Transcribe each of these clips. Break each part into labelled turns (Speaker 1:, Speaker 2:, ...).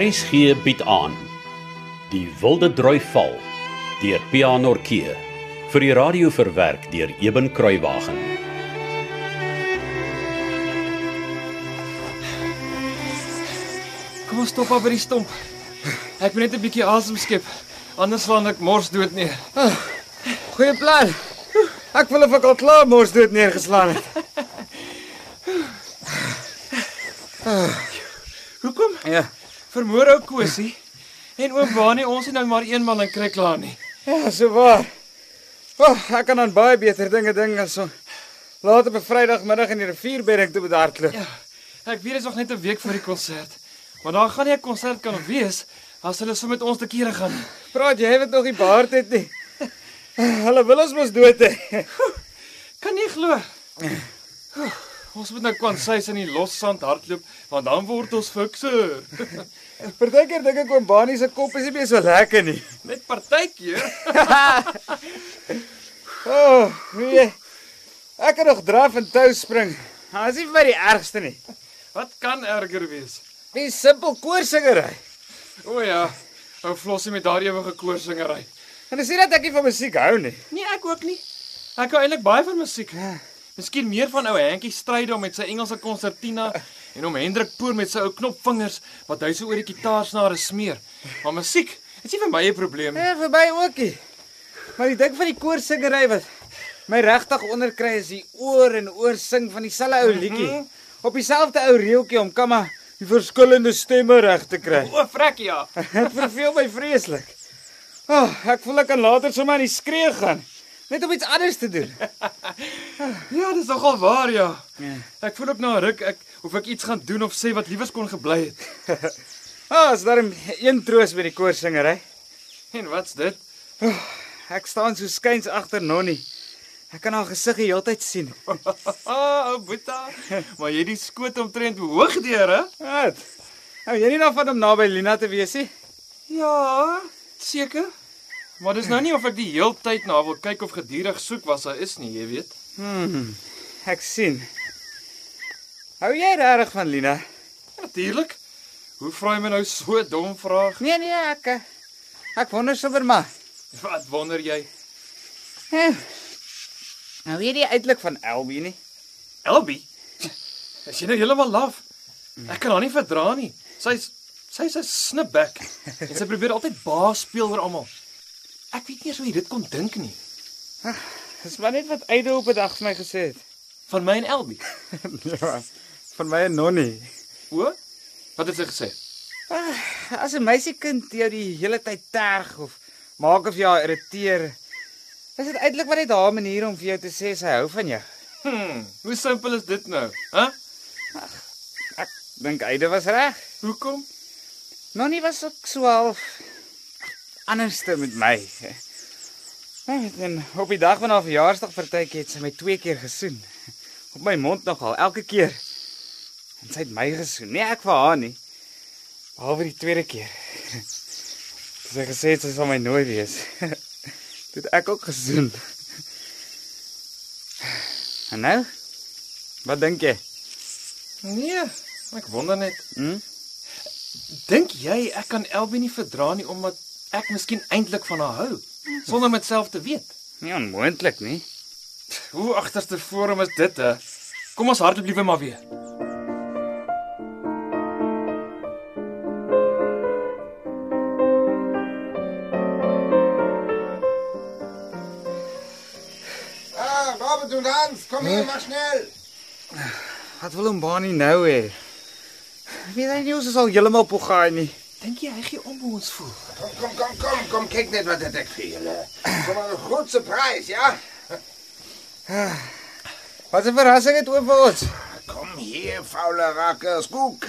Speaker 1: RSG bied aan Die Wilde Droi Val deur Pianorkee vir die radio verwerk deur Eben Kruiwagen.
Speaker 2: Kom ons stop maar by die stomp. Ek moet net 'n bietjie asem skep. Anders slaan ek mors dood nee. neer.
Speaker 3: Goeie plan. Ek wil of ek al klaar mors dood neergeslaan het.
Speaker 2: Hoekom?
Speaker 3: Ja.
Speaker 2: Vermoor ou Kosie en oom Bani ons het nou maar een man in Kriklaan nie.
Speaker 3: Ja, so waar. Oh, ek kan aan baie beter dinge dink as so laat op 'n Vrydagmiddag in die rivierbedding toe bedartloop.
Speaker 2: Ja. Ek weet dit is nog net 'n week voor die konsert. Maar daar gaan nie 'n konsert kan wees as hulle so met ons te kere gaan. nie.
Speaker 3: Praat jy wat nog die baard het nie. Hulle wil ons mos dood hê.
Speaker 2: Kan nie glo. Oeh, Ons moet nou kwansys in die lossand hardloop want dan word ons fikser.
Speaker 3: Partykeer dink ek oom Bani se kop is nie meer so lekker nie.
Speaker 2: Net partykeer.
Speaker 3: O, oh, nee. Ek kan nog draf en tou spring. Dit is nie vir my die ergste nie.
Speaker 2: Wat kan erger wees?
Speaker 3: Die simpel koorsingery.
Speaker 2: O ja, ou Flossie met daardie ewige koorsingery.
Speaker 3: En dis nie dat ek nie van musiek hou nie.
Speaker 2: Nee, ek ook nie. Ek hou eintlik baie van musiek. Miskien meer van ou Hantjie Strydom met sy Engelse konsertina en hom Hendrik Poor met sy ou knopvingers wat hy so oor die gitaarsnare smeer. Maar musiek, dit is nie vir my 'n probleem nie.
Speaker 3: Ja, vir my ookie. Maar die ding van die koorsingery wat my regtig onderkry is die oor en oor sing van dieselfde ou liedjie op dieselfde ou reeltjie om kan maar die verskillende stemme reg te kry.
Speaker 2: O, frek ja.
Speaker 3: Dit verveel my vreeslik. O, oh, ek voel ek kan later sommer aan die skree gaan, net om iets anders te doen.
Speaker 2: Ja, dis nogal waar ja.
Speaker 3: Ja.
Speaker 2: Ek voel ook na 'n ruk ek of ek iets gaan doen of sê wat liewers kon gebly het.
Speaker 3: Ah, oh, is daar een troos by die koorsingery?
Speaker 2: En wat's dit?
Speaker 3: Ek staan so skuins agter Nonnie. Ek kan haar gesig die hele tyd sien.
Speaker 2: Ah, ou Boeta. Maar jy het die skoot omtrent hoog deur, hè?
Speaker 3: Wat? Nou jy nie daarvan om naby Lina te wees nie.
Speaker 2: Ja, seker. Maar dis nou nie of ek die heeltyd na haar wil kyk of gedurig soek was sy is nie, jy weet.
Speaker 3: Hmm, ek sien. Hou jy regtig van Lina?
Speaker 2: Natuurlik. Hoe vra jy my nou so 'n dom vraag?
Speaker 3: Nee nee, ek eh, ek wonder sommer maar.
Speaker 2: Wat wonder jy?
Speaker 3: Eh, Nou weet jy uitelik van Elbie nie.
Speaker 2: Elbie? Is jy nou heeltemal laf? Ek kan haar nie verdra nie. Sy's sy's 'n snipbek en sy probeer altyd baas speel oor almal. Ek weet nie eens hoe jy dit kon dink nie.
Speaker 3: Dis maar net wat Eide op 'n dag vir my gesê het.
Speaker 2: Van my en Elbie.
Speaker 3: ja, van my en Nonnie.
Speaker 2: O? Wat het sy gesê?
Speaker 3: Ah, As 'n meisiekind jou die hele tyd terg of maak of jy haar irriteer, is dit eintlik maar net haar manier om vir jou te sê sy hou van jou.
Speaker 2: Hm, hoe simpel is dit nou? Hæ? Huh?
Speaker 3: Ek dink Eide was reg.
Speaker 2: Hoekom?
Speaker 3: Nonnie was ook so half anderste met my. Net en op die dag van haar verjaarsdag partytjie het sy my twee keer gesoen. Op my mond nogal elke keer. En sy het my gesoen. Nee, ek vir haar nie. Behalwe die tweede keer. Toe sy gesê het sy sal my nooit wees. Toe het ek ook gesoen. En nou? Wat dink jy?
Speaker 2: Nee, ek wonder net.
Speaker 3: Hm?
Speaker 2: Dink jy ek kan Elbie nie verdra nie omdat ek miskien eintlik van haar hou sonder met self te weet?
Speaker 3: Nie onmoontlik nie.
Speaker 2: Hoe agterste forum is dit hè? Kom ons hardloop liewe maar weer.
Speaker 4: Ah, Robert und Hans, komm hier mal schnell.
Speaker 3: Wat wil hom Bani nou hê? Weet hy nie ons is al heeltemal pogaai nie.
Speaker 2: Dink jy hy gee om hoe ons voel?
Speaker 4: Komm, komm, komm, komm, komm, kijk nicht, was der Deck fehlt. ne? Komm mal, kurzer Preis, ja?
Speaker 3: Wat 'n verrassing het oop vir ons.
Speaker 4: Komm hier, fauler Rackers, guck.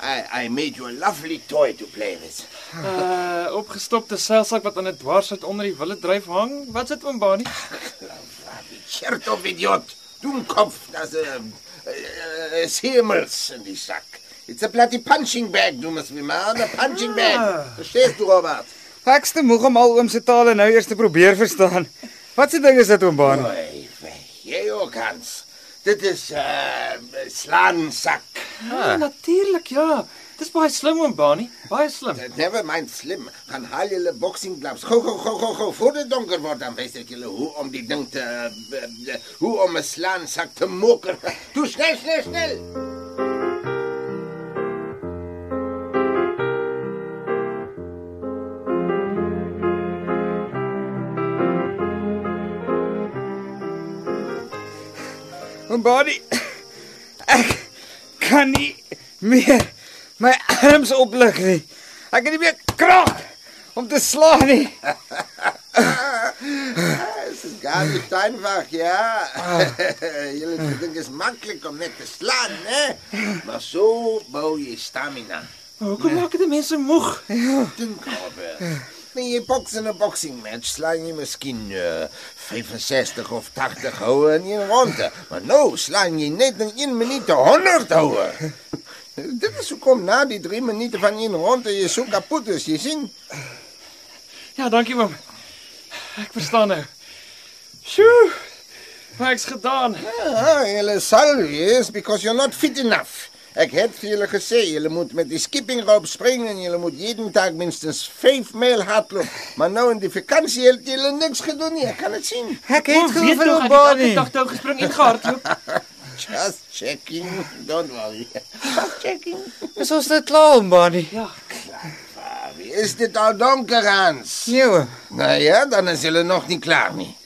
Speaker 4: I, I made you a lovely toy to play with.
Speaker 2: Uh opgestopte seilsak wat aan 'n dwarsheid onder die wille dryf hang. Wat sit oom Bani?
Speaker 4: Ah, Tschertow, Idiot, Dummkopf, das, ähm, äh, des Himmels in die Sack. It's a bloody punching bag, dummes Wiman, a punching bag. Verstehst du, Robert?
Speaker 3: Ek's te moeg om al oom se tale nou eers te probeer verstaan. Wat se ding is dit oom Bani?
Speaker 4: Oi, wei, jy ook, Hans. Dit is, äh, Slansack.
Speaker 2: Ja, ah, natuurlik ja. Dis baie slim oom Bani, baie slim.
Speaker 4: Eh, Never mind slim. Gaan haal julle boxing gloves. Gou gou gou gou gou voor dit donker word dan wys ek julle hoe om die ding te eh, b- b- hoe om 'n slaansak te moker. Toe snel snel snel.
Speaker 3: Body. Ek kan nie meer my arms oplig nie. Ek het nie meer krag om te slaan nie.
Speaker 4: Eh, Dit is gar nie einfach, ja. julle dink is maklik om net te slaan, né? Maar so bou jy stamina.
Speaker 2: Maar hoekom maak dit die mense moeg?
Speaker 4: Dink oor. Nee, jy boks in 'n boxing match slaan jy miskien uh, 65 of 80 houe in een ronde, maar nou slaan jy net in 1 minuut 100 houe. Dit is hoekom na die 3 minute van 'n ronde jy so kapot is, jy sien?
Speaker 2: Ja, dankie oom. Ek verstaan nou. Sjoe. Maar ek's gedaan.
Speaker 4: Ja, julle sal wees because you're not fit enough. Ek het vir julle gesê, julle moet met die skipping rope spring en julle moet jeden dag minstens 5 myl hardloop. Maar nou in die vakansie het julle niks gedoen nie, ek kan dit sien.
Speaker 3: Ek
Speaker 2: Oom
Speaker 3: het
Speaker 2: weet
Speaker 3: gevoel
Speaker 2: nog, ek
Speaker 3: vir
Speaker 2: het elke
Speaker 3: Body.
Speaker 2: dag tou gespring en gehardloop.
Speaker 4: Just checking, don't worry. Just checking.
Speaker 3: Is ons nou klaar, Body?
Speaker 2: Ja.
Speaker 4: Ah, wie is dit al donker Hans?
Speaker 3: Nee. oom.
Speaker 4: Nou ja, dan is julle nog nie klaar nie.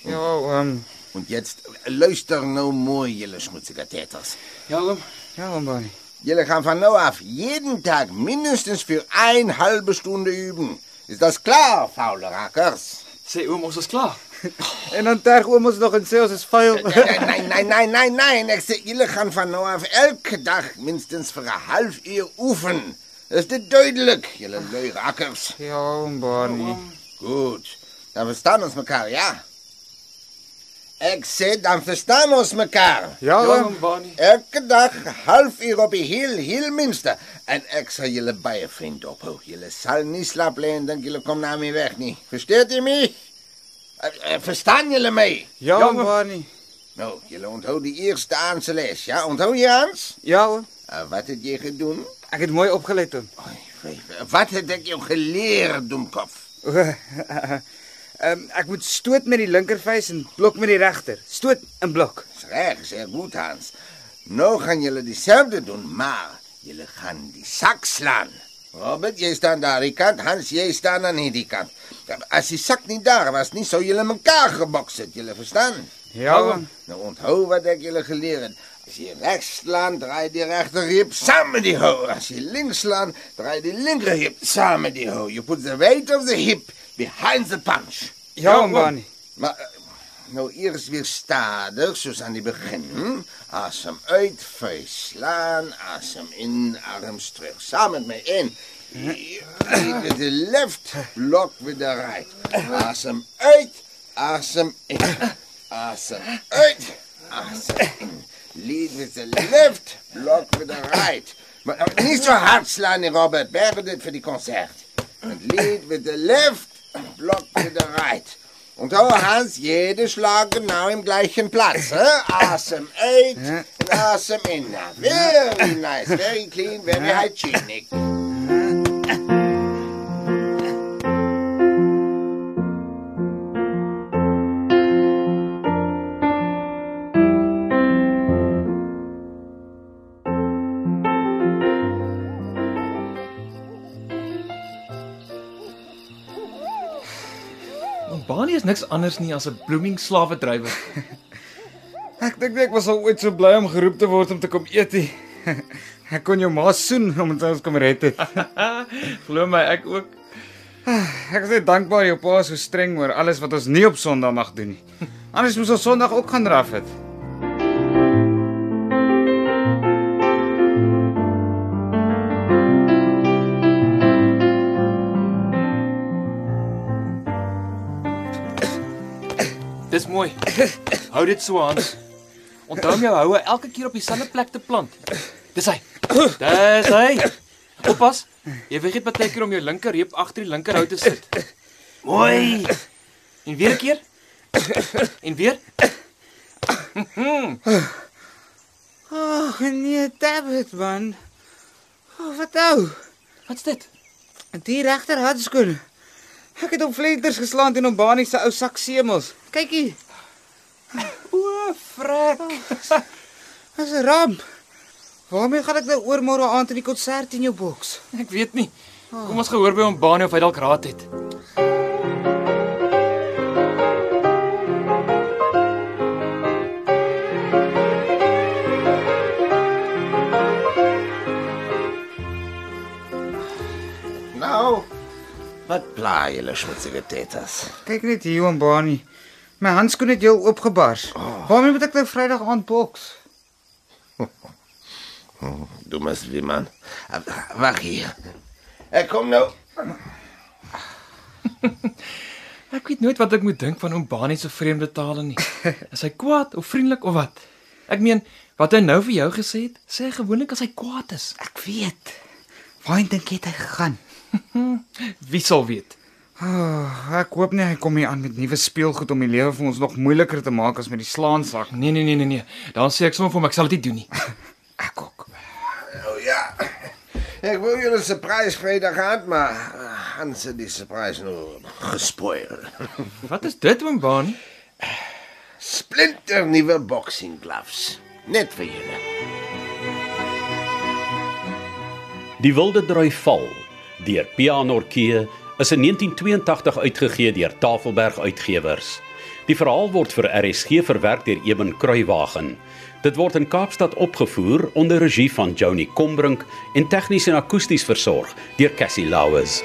Speaker 3: Ja, ehm
Speaker 4: En jetzt luister nou mooi julle smutsikateters.
Speaker 2: Ja oom.
Speaker 3: ja, oom Body.
Speaker 4: Jullie gaan van nu af jeden Tag mindestens für eine halbe Stunde üben. Ist das klar, faule Rackers?
Speaker 2: Sê oom, ons is klaar.
Speaker 3: En dan terg oom ons nog en sê ons is vuil.
Speaker 4: Nein, nein, nein, nein, nein, nein. Ich sag, jullie gaan van nu af elke Tag mindestens für eine halbe Uhr üben. Ist das deutlich, jullie lui Rackers?
Speaker 3: Ja, oom Body.
Speaker 4: Gut, dann verstehen uns mekar, ja? Ich sag, dann verstehen uns mekar.
Speaker 3: Ja,
Speaker 2: Ja
Speaker 3: oom.
Speaker 2: oom Bani.
Speaker 4: Elke dag half uur op die heel, heel minste. En ek sal julle baie vriend ophou. Julle sal nie slaap lê en dink julle kom na my nou weg nie. Versteet jy my? Eh, eh, Verstaan julle my?
Speaker 3: Ja,
Speaker 2: Ja,
Speaker 3: oom
Speaker 2: oom.
Speaker 3: Body.
Speaker 4: Nou, julle onthou die eerste aand se les, ja? Onthou jy aans?
Speaker 3: Ja, oom.
Speaker 4: Uh, wat het jy gedoen?
Speaker 3: Ek het mooi opgelet hom.
Speaker 4: Ai, vyf, eh, Wat het ek jou geleer, domkop?
Speaker 3: Ehm ek moet stoot met die linkervuis en blok met die regter. Stoot en blok.
Speaker 4: Dis reg, seer goed Hans. Nou gaan julle dieselfde doen, maar julle gaan die sak slaan. Robert, jy staan daar aan die kant, Hans, jy staan aan hierdie kant. As die sak nie daar was nie, sou julle mekaar geboks het, julle verstaan?
Speaker 3: Ja, oom.
Speaker 4: Nou onthou wat ek julle geleer het. As jy regs slaan, draai die regter heup saam met die hou. As jy links slaan, draai die linker heup saam met die hou. You put the weight of the hip behind the punch.
Speaker 3: Ja, oom Bani.
Speaker 4: Maar eh, nou eers weer stadig soos aan die begin. hm? Asem uit, vuis slaan, asem in, arms terug. Saam met my in. With the left block with the right. Asem uit, asem in. Asem uit, asem in. Lead with the left block with the right. Maar eh, nie so hard slaan nie, Robert. Berg dit vir die konsert. And lead with the left block with the right. Onthou Hans, jede Schlag genau im gleichen Platz. Hè? Awesome eight, and awesome in. Very nice, very clean, very hygienic.
Speaker 2: Oom Bani is niks anders nie as 'n blooming slawe drywer.
Speaker 3: Ek dink nie ek was al ooit so bly om geroep te word om te kom eet nie. Ek kon jou ma soen omdat sy ons kom red het.
Speaker 2: Ah, Glo my, ek ook.
Speaker 3: Ek is net dankbaar jou pa is so streng oor alles wat ons nie op Sondag mag doen nie. Anders moes ons Sondag ook gaan raf het.
Speaker 2: Dis mooi. Hou dit so Hans. Onthou om jou houe elke keer op dieselfde plek te plant. Dis hy. Dis hy. Oppas. Jy vergeet baie keer om jou linker reep agter die linkerhou te sit. Mooi. En weer 'n keer. En weer.
Speaker 3: Ag nee, David man. Oh, wat nou?
Speaker 2: Wat's dit?
Speaker 3: Die regter handskoen. Ek het hom vlenders geslaan en hom Bani se ou sak semels. Kyk hier,
Speaker 2: O, frek.
Speaker 3: dis 'n ramp. Waarmee gaan ek nou oor môre aand in die konsert in jou boks?
Speaker 2: Ek weet nie. Kom ons gehoor by hom Bani of hy dalk raad het.
Speaker 4: Nou, wat plaai julle smutsige tetas?
Speaker 3: Kyk net hier oom Bani. My handskoen het heel oopgebars. Waarmee moet ek nou Vrydag aand boks?
Speaker 4: Dummes wie man. Wag hier. Äh, Ek kom nou.
Speaker 2: Ek weet nooit wat ek moet dink van oom Bani se vreemde tale nie. Is hy kwaad of vriendelik of wat? Ek meen, wat hy nou vir jou gesê het, sê hy gewoonlik as hy kwaad is.
Speaker 3: Ek weet. Waarheen dink jy het hy gegaan?
Speaker 2: Wie sal weet?
Speaker 3: Oh, ek hoop nie hy kom hier aan met nuwe speelgoed om die lewe vir ons nog moeiliker te maak as met die slaansak.
Speaker 2: Nee nee nee nee nee. Dan sê ek sommer vir hom ek sal dit nie doen nie.
Speaker 3: Ek ook.
Speaker 4: Nou ja. Ek wou julle 'n surprise Vrydag aand maar eh, Hans het die surprise nou gespoil.
Speaker 2: Wat is dit oom Bani?
Speaker 4: Splinter nuwe boxing gloves. Net vir julle.
Speaker 1: Die Wilde Droi Val deur Pianorkee is in 1982 uitgegee deur Tafelberg Uitgewers. Die verhaal word vir RSG verwerk deur Eben Kruiwagen. Dit word in Kaapstad opgevoer onder regie van Johnny Combrink en tegnies en akoesties versorg deur Cassie Lauers.